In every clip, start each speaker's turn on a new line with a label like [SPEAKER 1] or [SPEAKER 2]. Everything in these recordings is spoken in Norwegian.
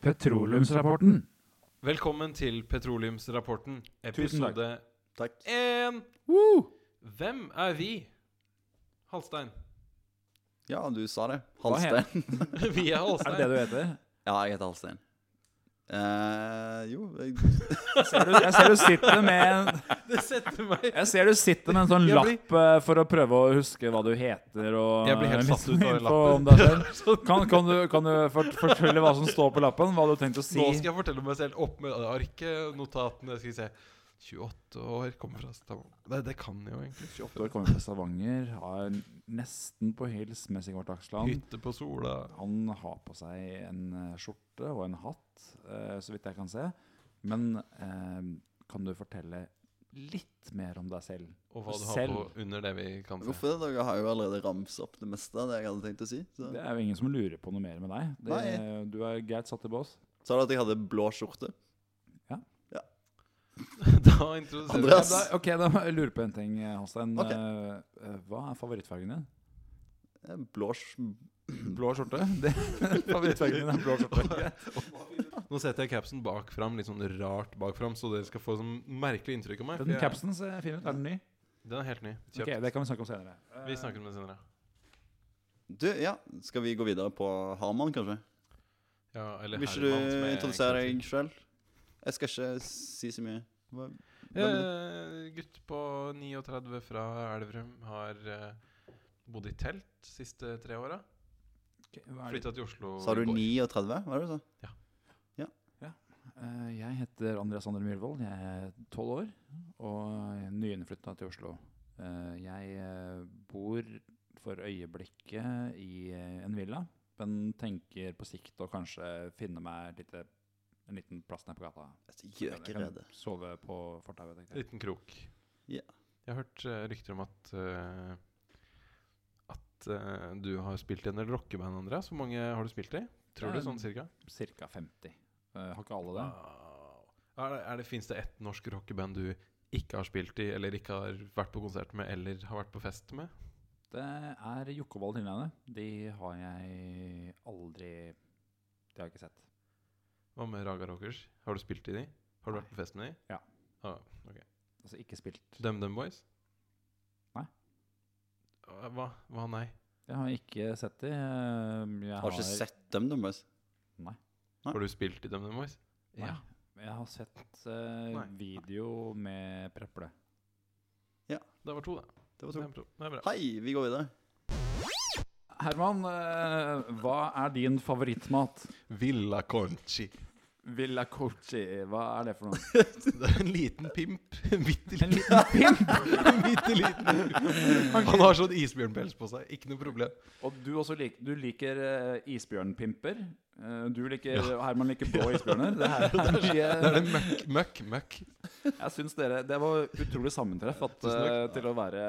[SPEAKER 1] Petroleumsrapporten.
[SPEAKER 2] Velkommen til Petroleumsrapporten,
[SPEAKER 1] Tusen takk.
[SPEAKER 2] episode
[SPEAKER 3] Takk.
[SPEAKER 2] 1.
[SPEAKER 1] Woo!
[SPEAKER 2] Hvem er vi? Halstein.
[SPEAKER 3] Ja, du sa det.
[SPEAKER 1] Hva heter-
[SPEAKER 3] Halstein.
[SPEAKER 2] Vi er
[SPEAKER 1] Er
[SPEAKER 2] Halstein.
[SPEAKER 1] det det du heter?
[SPEAKER 3] Ja, jeg heter Halstein. Eh, jo jeg,
[SPEAKER 1] Ser du, jeg, ser du sitter med en,
[SPEAKER 2] det setter meg
[SPEAKER 1] jeg ser du sitter med en sånn
[SPEAKER 2] Jeg blir-
[SPEAKER 1] lapp eh, for å prøve å huske hva du heter. Og eh,
[SPEAKER 2] Jeg blir helt
[SPEAKER 1] litt
[SPEAKER 2] satt ut av
[SPEAKER 1] info
[SPEAKER 2] lappen.
[SPEAKER 1] om deg selv. Kan, kan du, kan du fort- fortelle hva som står på lappen? Hva du har tenkt å si?
[SPEAKER 2] Nå skal jeg fortelle meg selv opp med arket, notatene. Skal vi se. 28 år, kommer fra Stavanger. Det, det kan jeg jo egentlig.
[SPEAKER 1] 28 år, kommer fra Stavanger, har nesten på hils med Sigvart Aksland.
[SPEAKER 2] Hytte på sola.
[SPEAKER 1] Han har på seg en eh, skjorte og en hatt, eh, så vidt jeg kan se. Men eh, kan du fortelle litt mer om deg selv?
[SPEAKER 2] Og hva du har
[SPEAKER 1] Selv.
[SPEAKER 2] på under det vi kan se.
[SPEAKER 3] hvorfor det? Dere har jo allerede ramset opp det meste av det jeg hadde tenkt å si. Så.
[SPEAKER 1] Det er jo ingen som lurer på noe mer med deg. Det,
[SPEAKER 3] Nei.
[SPEAKER 1] Du er greit satt i bås.
[SPEAKER 3] Sa du at jeg hadde blå skjorte?
[SPEAKER 2] Da introduserer vi
[SPEAKER 3] Andreas.
[SPEAKER 1] Da, ok, da må jeg lure på en ting, eh, Halstein.
[SPEAKER 3] Ok.
[SPEAKER 1] Eh, eh, Hva er favorittfargen din?
[SPEAKER 3] Eh, Blå sk-
[SPEAKER 1] Blå skjorte? Det, favorittfargen din er blå skjorte.
[SPEAKER 2] Nå setter jeg capsen bak fram, litt sånn rart bak fram, så dere skal få sånn merkelig inntrykk av meg. for
[SPEAKER 1] Den
[SPEAKER 2] jeg-
[SPEAKER 1] capsen ser fin ut. Er den ny?
[SPEAKER 2] Den er helt ny.
[SPEAKER 1] Ok,
[SPEAKER 2] Kjøpt.
[SPEAKER 1] Det kan vi snakke om senere. Eh,
[SPEAKER 2] Vi snakker om det senere.
[SPEAKER 3] Du, ja. Skal vi gå videre på Harman, kanskje?
[SPEAKER 2] Ja, eller
[SPEAKER 3] Vil ikke
[SPEAKER 2] Herman, som
[SPEAKER 3] du
[SPEAKER 2] jeg
[SPEAKER 3] introdusere
[SPEAKER 2] ikke
[SPEAKER 3] deg sjøl? Jeg skal ikke si så mye. Hva,
[SPEAKER 2] vet.
[SPEAKER 3] hvem er du?
[SPEAKER 2] Eh, gutt på 39 fra Elverum har eh, bodd i telt siste tre åra.
[SPEAKER 1] ok, hva er det-
[SPEAKER 2] Flytta til Oslo
[SPEAKER 3] Sa du
[SPEAKER 2] i går.
[SPEAKER 3] 39? Hva er det du sa?
[SPEAKER 1] Eh, Jeg heter Andreas Andre Myhrvold. Jeg er tolv år og nyinnflytta til Oslo. Eh, Jeg eh, bor for øyeblikket i eh, en villa, men tenker på sikt å kanskje finne meg et lite, en liten plass nede på gata. Jeg kan
[SPEAKER 3] Gjøkerede.
[SPEAKER 1] sove på fortauet. tenkte jeg.
[SPEAKER 2] Liten krok.
[SPEAKER 3] Ja.
[SPEAKER 2] Jeg har hørt eh, rykter om at eh, At eh, du har spilt i en del rockeband, Andreas. Hvor mange har du spilt i? Tror
[SPEAKER 1] Ja,
[SPEAKER 2] du sånn cirka?
[SPEAKER 1] Cirka 50. Eh, Har ikke alle det?
[SPEAKER 2] Wow. Er det, er det, Fins det ett norsk rockeband du ikke har spilt i, eller ikke har vært på konsert med, eller har vært på fest med?
[SPEAKER 1] Det er Jokkoball Tilneinet. De har jeg aldri De har jeg ikke sett.
[SPEAKER 2] Hva med Raga Rockers? Har du spilt i de? Har du vært på fest med de?
[SPEAKER 1] Ja.
[SPEAKER 2] Ah,
[SPEAKER 1] Altså ikke spilt.
[SPEAKER 2] DumDum Boys?
[SPEAKER 1] Nei.
[SPEAKER 2] Ah, Hva? Hva nei?
[SPEAKER 1] Jeg har ikke sett de. Eh, Jeg
[SPEAKER 3] Har du ikke sett dem, du, Møys? Nei.
[SPEAKER 2] Har du spilt i DumDum Boys?
[SPEAKER 1] Nei.
[SPEAKER 2] Ja.
[SPEAKER 1] Jeg har sett eh,
[SPEAKER 2] Nei.
[SPEAKER 1] video med Preple.
[SPEAKER 2] Det var to, da.
[SPEAKER 3] Det var
[SPEAKER 2] Det
[SPEAKER 3] to.
[SPEAKER 2] er bra. Det er bra.
[SPEAKER 3] Hei, vi går videre.
[SPEAKER 1] Herman, eh, hva er din favorittmat?
[SPEAKER 2] Villa Conchi.
[SPEAKER 1] Villa Corci, hva er det for noe?
[SPEAKER 2] Det er en liten pimp. En bitte
[SPEAKER 1] En liten pimp!
[SPEAKER 2] liten, bitte liten. Han har sånn isbjørnpels på seg. Ikke noe problem.
[SPEAKER 1] Og du, også lik, du liker eh, isbjørnpimper. Eh, du liker, Herman liker blå isbjørner. Det her er
[SPEAKER 2] Det er
[SPEAKER 1] mye
[SPEAKER 2] det møkk, møkk, møkk.
[SPEAKER 1] Jeg syns dere Det var utrolig sammentreff at,
[SPEAKER 2] Tusen takk.
[SPEAKER 1] eh, til å være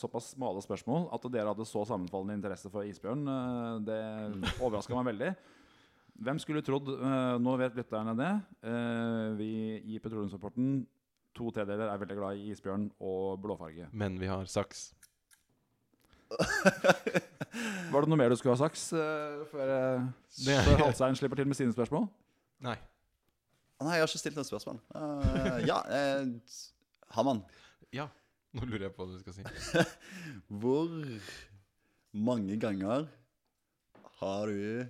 [SPEAKER 1] såpass smale spørsmål. At dere hadde så sammenfallende interesse for isbjørn, eh, det overraska meg veldig. Hvem skulle trodd eh, Nå vet lytterne det. eh, Vi i Petroleumsrapporten to tredjedeler er veldig glad i isbjørn og blåfarge.
[SPEAKER 2] Men vi har saks.
[SPEAKER 1] Var det noe mer du skulle ha sagt eh, før, eh,
[SPEAKER 2] Det-
[SPEAKER 1] før Halstein slipper til med sine spørsmål?
[SPEAKER 2] Nei.
[SPEAKER 3] Nei, jeg har ikke stilt noe spørsmål. Eh, ja, eh, Haman,
[SPEAKER 2] Ja. Nå lurer jeg på hva du skal si.
[SPEAKER 3] hvor mange ganger har du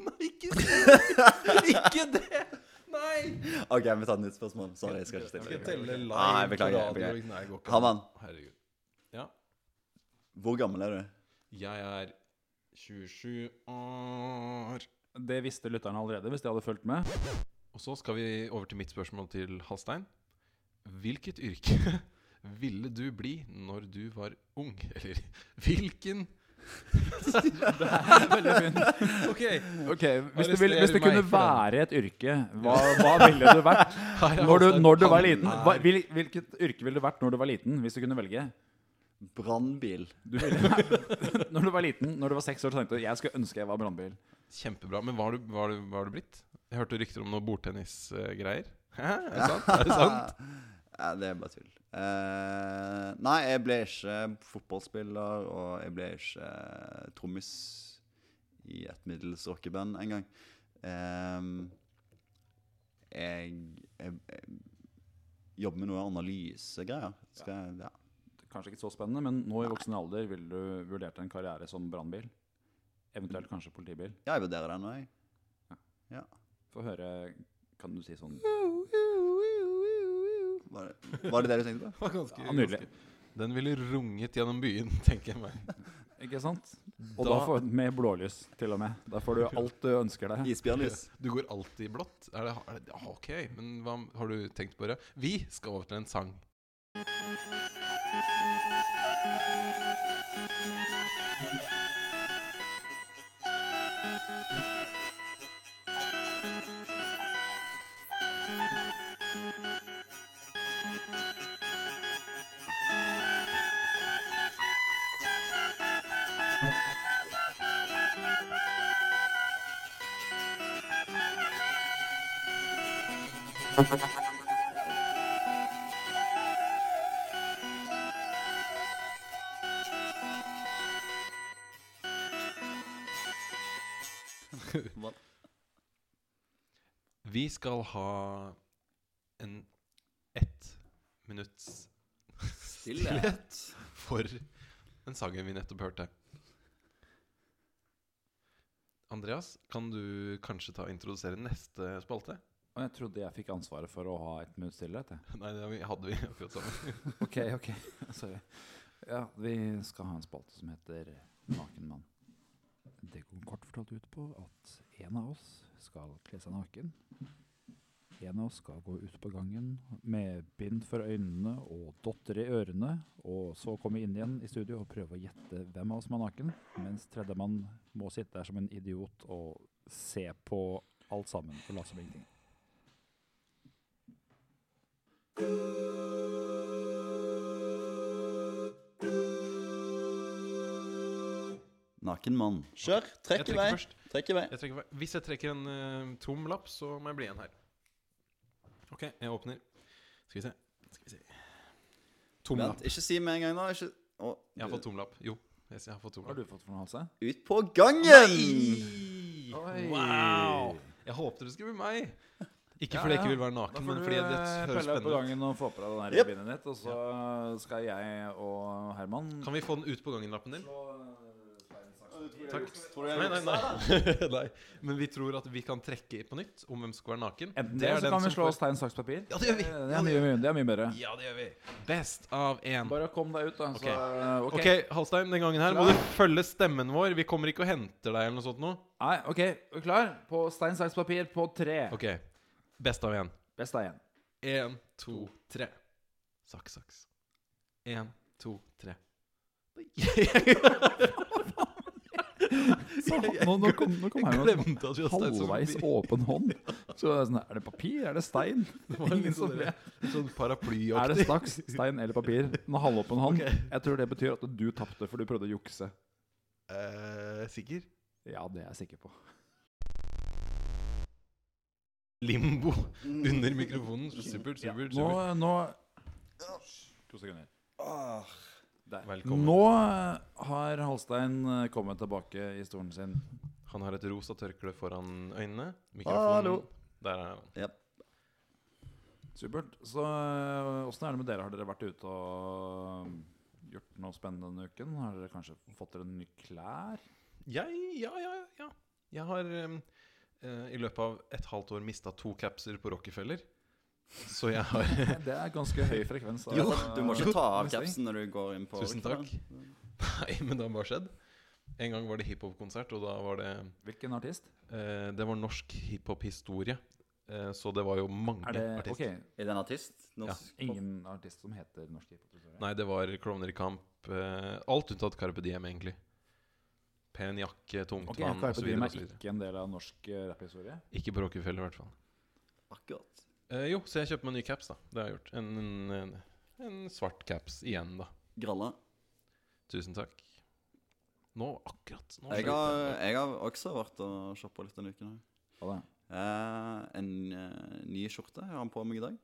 [SPEAKER 2] Ikke si Ikke det! Nei!
[SPEAKER 3] OK, vi tar et nytt spørsmål. Sorry, jeg skal ikke
[SPEAKER 2] Skal jeg
[SPEAKER 3] stille.
[SPEAKER 2] telle live
[SPEAKER 3] Nei,
[SPEAKER 2] på
[SPEAKER 3] beklager,
[SPEAKER 2] radio,
[SPEAKER 3] beklager.
[SPEAKER 2] liksom? Nei, det går ikke an.
[SPEAKER 3] Haman,
[SPEAKER 2] Herregud.
[SPEAKER 3] hvor gammel er du?
[SPEAKER 2] Jeg er 27 år.
[SPEAKER 1] Det visste lytterne allerede hvis de hadde fulgt med.
[SPEAKER 2] Og så skal vi over til mitt spørsmål til Halstein. Hvilket yrke ville du bli når du var ung? Eller hvilken
[SPEAKER 1] Veldig fint.
[SPEAKER 2] Ok,
[SPEAKER 1] Ok, Hvis du, vil,
[SPEAKER 2] Arrester
[SPEAKER 1] hvis du kunne
[SPEAKER 2] meg for den.
[SPEAKER 1] være et yrke, hva, hva ville du vært?
[SPEAKER 2] her er
[SPEAKER 1] Når du,
[SPEAKER 2] Halstein.
[SPEAKER 1] når du var
[SPEAKER 2] Han
[SPEAKER 1] liten,
[SPEAKER 2] er-
[SPEAKER 1] hva, hvil, hvilket yrke ville du vært når du var liten, hvis du kunne velge?
[SPEAKER 3] Brannbil.
[SPEAKER 1] Du ville, når du var liten, når du var seks år, så tenkte du jeg skulle ønske jeg var brannbil.
[SPEAKER 2] Kjempebra. Men hva har du, hva har du, hva har du blitt? Jeg hørte rykter om noe bordtennisgreier. Hæ? Er det sant? Er det sant?
[SPEAKER 3] Ja, det er bare tull. Eh, nei, jeg ble ikke fotballspiller, og jeg ble ikke eh, trommis i et middels rockeband engang. Ehm, jeg, jeg, jeg jobber med noe analysegreier. Skal jeg- Ja.
[SPEAKER 1] Kanskje ikke så spennende, men nå i voksen alder ville du vurdert en karriere som brannbil? Eventuelt kanskje politibil?
[SPEAKER 3] ja, jeg vurderer den òg.
[SPEAKER 1] Få høre Kan du si sånn
[SPEAKER 3] Var, det- var det det du tenkte på?
[SPEAKER 2] Det var ganske,
[SPEAKER 1] Ja, nydelig.
[SPEAKER 2] ganske- Den ville runget gjennom byen, tenker jeg meg.
[SPEAKER 1] Ikke sant? Og da, får, med blålys, til og med. Da får du alt du ønsker deg.
[SPEAKER 3] Isbjørnlys.
[SPEAKER 2] Du går alltid i blått? Er det, er det, ah, ok, men hva har du tenkt på det? Vi skal over til en sang.
[SPEAKER 3] Hva-
[SPEAKER 2] Vi skal ha en ett minutts stillhet for den sangen vi nettopp hørte. Andreas, kan du kanskje ta og introdusere neste spalte?
[SPEAKER 1] Og jeg trodde jeg fikk ansvaret for å ha et minutts stillhet. jeg.
[SPEAKER 2] Nei, det hadde vi akkurat sammen.
[SPEAKER 1] Ok, ok. Sorry. Ja, vi skal ha en spalte som heter Naken mann. Det går kort fortalt ut på at en av oss skal kle seg naken. En av oss skal gå ut på gangen med bind for øynene og dotter i ørene, og så komme inn igjen i studio og prøve å gjette hvem av oss som er naken, mens tredjemann må sitte der som en idiot og se på alt sammen og late som ingenting.
[SPEAKER 3] Naken mann. Kjør.
[SPEAKER 2] Jeg
[SPEAKER 3] Trekk i
[SPEAKER 2] trekker
[SPEAKER 3] vei.
[SPEAKER 2] først.
[SPEAKER 3] Trekk i vei.
[SPEAKER 2] Jeg trekker, hvis jeg trekker en eh, tom lapp, så må jeg bli igjen her. Ok, jeg åpner. Skal vi se. Skal vi se. Tom
[SPEAKER 3] Vent,
[SPEAKER 2] lapp.
[SPEAKER 3] ikke si med en gang, da. Ikke... Å,
[SPEAKER 2] Jeg har fått tom lapp. Jo, jeg jeg har fått tom
[SPEAKER 1] Hva har
[SPEAKER 2] lapp.
[SPEAKER 1] du fått for noe, Halse?
[SPEAKER 3] Ut på gangen!
[SPEAKER 2] Nei!
[SPEAKER 1] Oi!
[SPEAKER 2] Wow! Jeg håpte det skulle bli meg. Ikke fordi jeg ikke vil være
[SPEAKER 1] Da
[SPEAKER 2] naken,
[SPEAKER 1] får
[SPEAKER 2] men
[SPEAKER 1] du
[SPEAKER 2] fordi det
[SPEAKER 1] eh,
[SPEAKER 2] høres
[SPEAKER 1] pelle på
[SPEAKER 2] spennende ut.
[SPEAKER 1] gangen og få på deg den her
[SPEAKER 3] Jep.
[SPEAKER 1] bindet ditt, og så skal jeg og Herman eh,
[SPEAKER 2] Kan vi få den ut på gangen-lappen din? Takk.
[SPEAKER 3] Tror du
[SPEAKER 2] Nei,
[SPEAKER 3] jeg
[SPEAKER 2] nei, nei. nei. Men vi tror at vi kan trekke på nytt om hvem som skal være naken.
[SPEAKER 1] Enten det,
[SPEAKER 2] er
[SPEAKER 1] så
[SPEAKER 2] den
[SPEAKER 1] kan vi
[SPEAKER 2] som
[SPEAKER 1] slå
[SPEAKER 2] får-
[SPEAKER 1] oss stein, saks, papir.
[SPEAKER 2] Ja, det gjør vi.
[SPEAKER 1] Eh, Det er
[SPEAKER 2] Ja, det
[SPEAKER 1] mye, mye- det er mye bedre.
[SPEAKER 2] Ja, det gjør vi. Best av én.
[SPEAKER 1] Bare kom deg ut, da. Så,
[SPEAKER 2] Ok.
[SPEAKER 1] eh,
[SPEAKER 2] Ok, Halstein, den gangen her må du følge stemmen vår. Vi kommer ikke og henter deg eller noe sånt nå.
[SPEAKER 1] Nei, OK, er du klar? På stein, saks, papir på tre.
[SPEAKER 2] Ok, best av én.
[SPEAKER 1] Best av én.
[SPEAKER 2] Én, to, tre. Saks, saks. Én, to, tre.
[SPEAKER 1] Nå, nå kom, nå kom
[SPEAKER 2] Jeg
[SPEAKER 1] Herman sånn
[SPEAKER 2] glemte at vi hadde stein som
[SPEAKER 1] halvveis åpen hånd. Så det er, sånn, er det papir? Er det stein?
[SPEAKER 2] var litt
[SPEAKER 1] Ingen som
[SPEAKER 2] sånn
[SPEAKER 1] vet.
[SPEAKER 2] Sånn
[SPEAKER 1] Er
[SPEAKER 2] paraplyaktig.
[SPEAKER 1] det saks, stein eller papir? Med halvåpen hånd. Jeg tror det betyr at du tapte, for du prøvde å jukse.
[SPEAKER 2] Eh, sikker?
[SPEAKER 1] Ja, det er jeg sikker på.
[SPEAKER 2] Limbo
[SPEAKER 3] Mm.
[SPEAKER 2] under mikrofonen. Supert, supert.
[SPEAKER 1] Nå,
[SPEAKER 2] supert.
[SPEAKER 1] nå To sekunder.
[SPEAKER 3] Åh.
[SPEAKER 2] Velkommen.
[SPEAKER 1] Nå har Halstein eh, kommet tilbake i stolen sin.
[SPEAKER 2] Han har et rosa tørkle foran øynene.
[SPEAKER 3] Hallo.
[SPEAKER 2] Mikrofonen. Der er han.
[SPEAKER 1] Supert. Så eh, åssen er det med dere? Har dere vært ute og eh, gjort noe spennende denne uken? Har dere kanskje fått dere nye klær?
[SPEAKER 2] Jeg, ja, ja, ja. Jeg har em, eh, i løpet av et halvt år mista to capser på Rockefeller. Så jeg har
[SPEAKER 1] Det er ganske høy frekvens. Altså, av,
[SPEAKER 3] Jo, Altså, du må ikke ta av
[SPEAKER 1] mestring.
[SPEAKER 3] capsen når du går inn på
[SPEAKER 2] Tusen takk. Nei, men det har bare skjedd. En gang var det hiphop-konsert, og da var det
[SPEAKER 1] Hvilken artist?
[SPEAKER 2] eh, Det var norsk hiphop-historie. Eh, så det var jo mange
[SPEAKER 1] Er det Ok,
[SPEAKER 2] artister.
[SPEAKER 3] Er det en artist? Norsk pop?
[SPEAKER 1] ingen artist som heter norsk hiphop?
[SPEAKER 2] Nei, det var Klovner i kamp. Eh, alt unntatt Carpe Diem, egentlig. Pen jakke, tungt
[SPEAKER 1] Ok,
[SPEAKER 2] vann
[SPEAKER 1] Carpe
[SPEAKER 2] osv.
[SPEAKER 1] Diem er ikke en del av norsk eh, rapphistorie?
[SPEAKER 2] Ikke på Rockefeller, i hvert fall.
[SPEAKER 3] Akkurat.
[SPEAKER 2] Eh, jo, så jeg kjøpte meg en ny caps, da. Det har jeg gjort. En, en, en, en svart caps igjen, da.
[SPEAKER 3] Gralla.
[SPEAKER 2] Tusen takk. Nå, akkurat nå
[SPEAKER 3] Jeg
[SPEAKER 2] skjøt
[SPEAKER 3] har,
[SPEAKER 2] jeg.
[SPEAKER 3] jeg har også vært og shoppa litt denne uken. her.
[SPEAKER 1] Hva da?
[SPEAKER 3] Eh, en eh, ny skjorte jeg har han på meg i dag.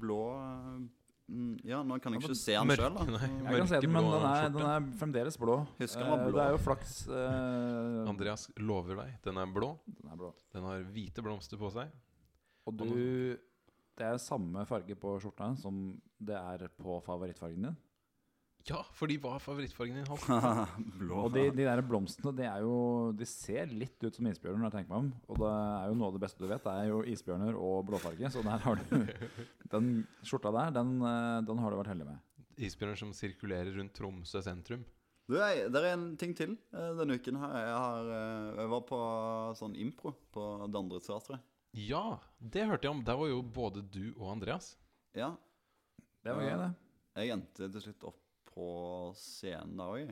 [SPEAKER 3] Blå, eh, Mm, ja, nå kan jeg
[SPEAKER 1] Ja,
[SPEAKER 3] ikke se den sjøl, da.
[SPEAKER 2] Mørk- nei,
[SPEAKER 1] Jeg kan se den, men
[SPEAKER 2] Mørkeblå
[SPEAKER 1] den er, den
[SPEAKER 2] skjorte.
[SPEAKER 1] er fremdeles blå.
[SPEAKER 3] Husker den var
[SPEAKER 1] Eh,
[SPEAKER 3] blå.
[SPEAKER 1] Det er jo flaks eh,
[SPEAKER 2] Andreas lover deg. Den er blå.
[SPEAKER 1] Den er blå.
[SPEAKER 2] Den har hvite blomster på seg.
[SPEAKER 1] Og du Det er samme farge på skjorta som det er på favorittfargen din.
[SPEAKER 2] Ja, for de var favorittfargen din. Hans.
[SPEAKER 3] Mm, Blå.
[SPEAKER 1] Og de, de der blomstene det er jo, de ser litt ut som isbjørner, når jeg tenker meg om. Og det er jo noe av det beste du vet, det er jo isbjørner og blåfarge. Så der har du den skjorta der, den, eh, den har du vært heldig med.
[SPEAKER 2] Isbjørner som sirkulerer rundt Tromsø sentrum.
[SPEAKER 3] Du, jeg, det er en ting til eh, denne uken her. Jeg, har, eh, jeg var på sånn impro på Dandre Teatret.
[SPEAKER 2] Ja, det hørte jeg om. Der var jo både du og Andreas.
[SPEAKER 3] Ja,
[SPEAKER 1] Det var gøy, det.
[SPEAKER 3] jeg endte til slutt opp på scenen da òg.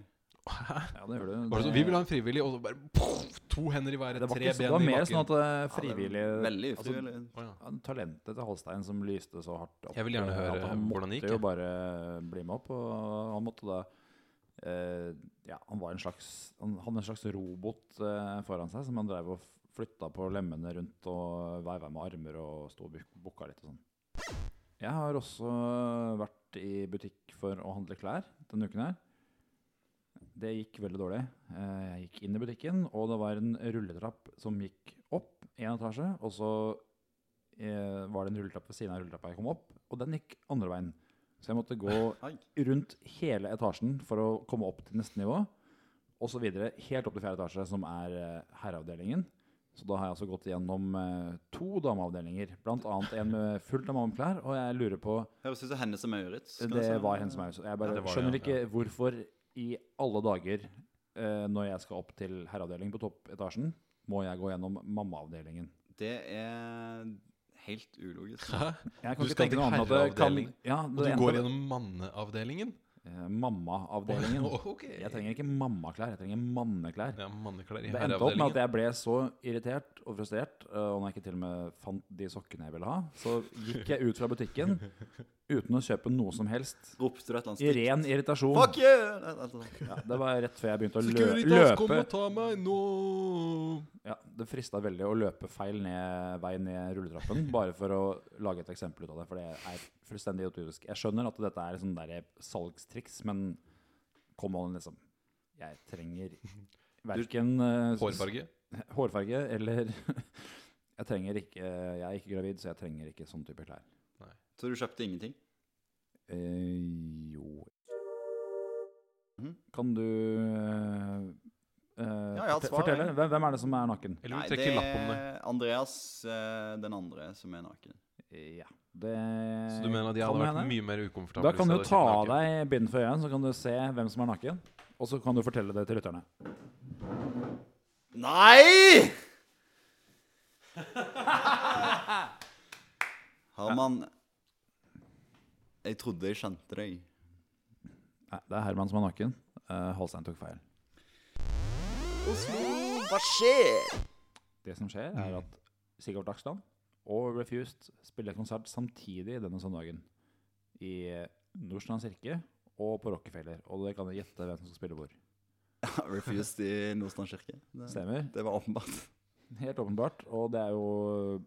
[SPEAKER 1] Ja, det gjør du.
[SPEAKER 2] Var det sånn, Vi vil ha en frivillig, og så bare poff, to hender i været,
[SPEAKER 1] det var,
[SPEAKER 2] tre
[SPEAKER 1] ikke, så- det
[SPEAKER 2] ben
[SPEAKER 1] var
[SPEAKER 2] i
[SPEAKER 1] mer
[SPEAKER 2] bakken.
[SPEAKER 1] sånn at eh, frivillige
[SPEAKER 3] Veldig
[SPEAKER 1] altså,
[SPEAKER 3] ufrivillig.
[SPEAKER 2] Å, ja.
[SPEAKER 1] ja, talentet til Holstein som lyste så hardt opp.
[SPEAKER 2] Jeg vil gjerne
[SPEAKER 1] eh,
[SPEAKER 2] høre
[SPEAKER 1] at han
[SPEAKER 2] hvordan det gikk,
[SPEAKER 1] måtte
[SPEAKER 2] jeg.
[SPEAKER 1] jo bare eh, bli med opp, og han måtte da eh, Ja, han var en slags Han hadde en slags robot eh, foran seg som han drev og f- flytta på lemmene rundt og veiva med armer og sto og buk- bukka litt og sånn. Jeg har også vært i butikk for å handle klær denne uken her. Det gikk veldig dårlig. Eh, Jeg gikk inn i butikken, og det var en rulletrapp som gikk opp én etasje. Og så eh, var det en rulletrapp ved siden av rulletrappa jeg kom opp, og den gikk andre veien. Så jeg måtte gå
[SPEAKER 3] Ai.
[SPEAKER 1] rundt hele etasjen for å komme opp til neste nivå. Og så videre helt opp til fjerde etasje, som er eh, herreavdelingen. Så da har jeg altså gått gjennom eh, to dameavdelinger, blant annet en med fullt av manneklær. Og jeg lurer på
[SPEAKER 3] Høres ut som Hennes og Maurits. kan jeg
[SPEAKER 1] Det
[SPEAKER 3] si.
[SPEAKER 1] var henne som er Jeg bare
[SPEAKER 2] Ja, det var
[SPEAKER 1] skjønner
[SPEAKER 2] det, ja.
[SPEAKER 1] ikke hvorfor i alle dager, eh, når jeg skal opp til herreavdelingen på toppetasjen, må jeg gå gjennom mammaavdelingen.
[SPEAKER 3] Det er helt ulogisk.
[SPEAKER 2] Hæ?
[SPEAKER 1] Jeg
[SPEAKER 2] Du
[SPEAKER 1] kan ikke
[SPEAKER 2] skal
[SPEAKER 1] tenke
[SPEAKER 2] til
[SPEAKER 1] noe annet at det kan
[SPEAKER 2] herreavdeling,
[SPEAKER 1] ja,
[SPEAKER 2] Og
[SPEAKER 1] det
[SPEAKER 2] du
[SPEAKER 1] ene-
[SPEAKER 2] går gjennom manneavdelingen?
[SPEAKER 1] eh, Mammaavdelingen.
[SPEAKER 2] Ok.
[SPEAKER 1] Jeg trenger ikke mammaklær, jeg trenger manneklær.
[SPEAKER 2] Ja, manneklær i
[SPEAKER 1] Det endte opp med at
[SPEAKER 2] herreavdelingen.
[SPEAKER 1] jeg ble så irritert og frustrert, øh, og når jeg ikke til og med fant de sokkene jeg ville ha, så gikk jeg ut fra butikken uten å kjøpe noe som helst.
[SPEAKER 3] Ropte du et eller annet
[SPEAKER 1] I
[SPEAKER 3] stygt
[SPEAKER 1] ren irritasjon.
[SPEAKER 3] Fuck you! Nei, alt sånt.
[SPEAKER 1] Ja, det var rett før jeg begynte å lø
[SPEAKER 2] Securitas, kom
[SPEAKER 1] løpe.
[SPEAKER 2] og ta meg nå!
[SPEAKER 1] Ja, det frista veldig å løpe feil ned, vei ned rulletrappen, bare for å lage et eksempel ut av det, for det er fullstendig idiotisk. Jeg skjønner at dette er sånn der salgstriks, men kom on, liksom. Jeg trenger øh, verken
[SPEAKER 2] Hårfarge.
[SPEAKER 1] hårfarge eller Jeg trenger ikke Jeg er ikke gravid, så jeg trenger ikke sånn type klær.
[SPEAKER 3] Så du kjøpte ingenting?
[SPEAKER 1] Eh, jo
[SPEAKER 3] Mhm.
[SPEAKER 1] Kan du eh, eh,
[SPEAKER 3] Ja, jeg har et
[SPEAKER 1] forte-
[SPEAKER 3] svar,
[SPEAKER 1] fortelle?
[SPEAKER 3] jeg.
[SPEAKER 1] Hvem, hvem er det som er naken?
[SPEAKER 2] Eller
[SPEAKER 3] Nei,
[SPEAKER 2] vil du trekke
[SPEAKER 3] det
[SPEAKER 2] lapp om det?
[SPEAKER 3] er Andreas eh, den andre som er naken.
[SPEAKER 1] Ja, det
[SPEAKER 2] Så du mener at jeg
[SPEAKER 1] kan
[SPEAKER 2] hadde vært
[SPEAKER 1] hende.
[SPEAKER 2] mye mer ukomfortabel?
[SPEAKER 1] Da kan
[SPEAKER 2] hvis
[SPEAKER 1] du
[SPEAKER 2] jeg hadde
[SPEAKER 1] ta
[SPEAKER 2] kjent
[SPEAKER 1] av deg
[SPEAKER 2] naken?
[SPEAKER 1] bind for øynene, så kan du se hvem som er naken. Og så kan du fortelle det til lytterne.
[SPEAKER 3] Nei! Herman Jeg trodde jeg kjente deg.
[SPEAKER 1] Nei, det er Herman som er naken. Eh, Halstein tok feil.
[SPEAKER 3] Oslo, hva skjer?
[SPEAKER 1] Det som skjer, er at Sigurd Dagsland og Refused spiller konsert samtidig denne søndagen. I Nordstrand kirke og på Rockefeller. Og dere kan gjette hvem som skal spille hvor.
[SPEAKER 3] Refused i Nordstrand kirke. Det,
[SPEAKER 1] Stemmer.
[SPEAKER 3] det var åpenbart.
[SPEAKER 1] Helt åpenbart. Og det er jo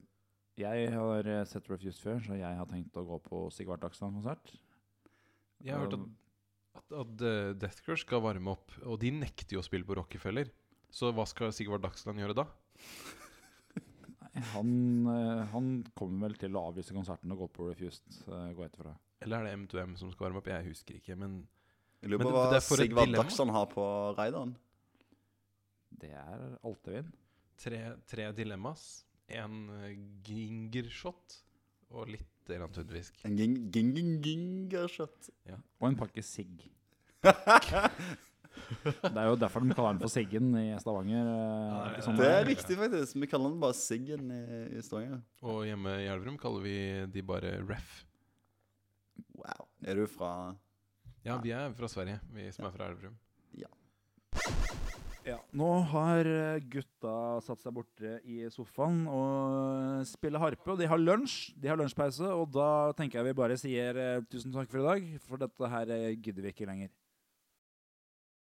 [SPEAKER 1] Jeg har sett Refused før, så jeg har tenkt å gå på Sigvart Dagsland-konsert.
[SPEAKER 2] Jeg har hørt at, at, at eh, Death Crush skal varme opp, og de nekter jo å spille på Rockefeller. Så hva skal Sigvard Dagsland gjøre da?
[SPEAKER 1] Nei, Han, eh, han kommer vel til å avlyse konserten og gå på Refused, eh, går jeg ut ifra.
[SPEAKER 2] Eller er det M2M som skal varme opp? Jeg husker ikke, men
[SPEAKER 3] Jeg lurer
[SPEAKER 2] Men
[SPEAKER 3] på
[SPEAKER 2] det-
[SPEAKER 3] hva
[SPEAKER 2] det er for et
[SPEAKER 3] Sigvard
[SPEAKER 2] dilemma.
[SPEAKER 3] Dagsson har på raideren.
[SPEAKER 1] Det er Altevin.
[SPEAKER 2] tre, tre dilemmas. En eh, gingershot og litt grann tunnfisk.
[SPEAKER 3] En ging, ging, ging, gingershot.
[SPEAKER 1] Og en pakke sigg. Det er jo derfor de kaller den for Siggen i Stavanger. eh,
[SPEAKER 2] det-
[SPEAKER 1] ikke sånn
[SPEAKER 3] Det
[SPEAKER 1] det
[SPEAKER 3] er
[SPEAKER 1] er.
[SPEAKER 3] riktig, faktisk. Vi kaller den bare Siggen i, i Stavanger.
[SPEAKER 2] Og hjemme i Elverum kaller vi de bare ref.
[SPEAKER 3] Wow. Er du fra
[SPEAKER 2] Ja, vi er fra Sverige, vi som er fra Elverum.
[SPEAKER 1] Ja. Nå har eh, gutta satt seg borte i sofaen og eh, spiller harpe. Og de har lunsj. De har lunsjpause, og da tenker jeg vi bare sier eh, tusen takk for i dag. For dette her eh, gidder vi ikke lenger.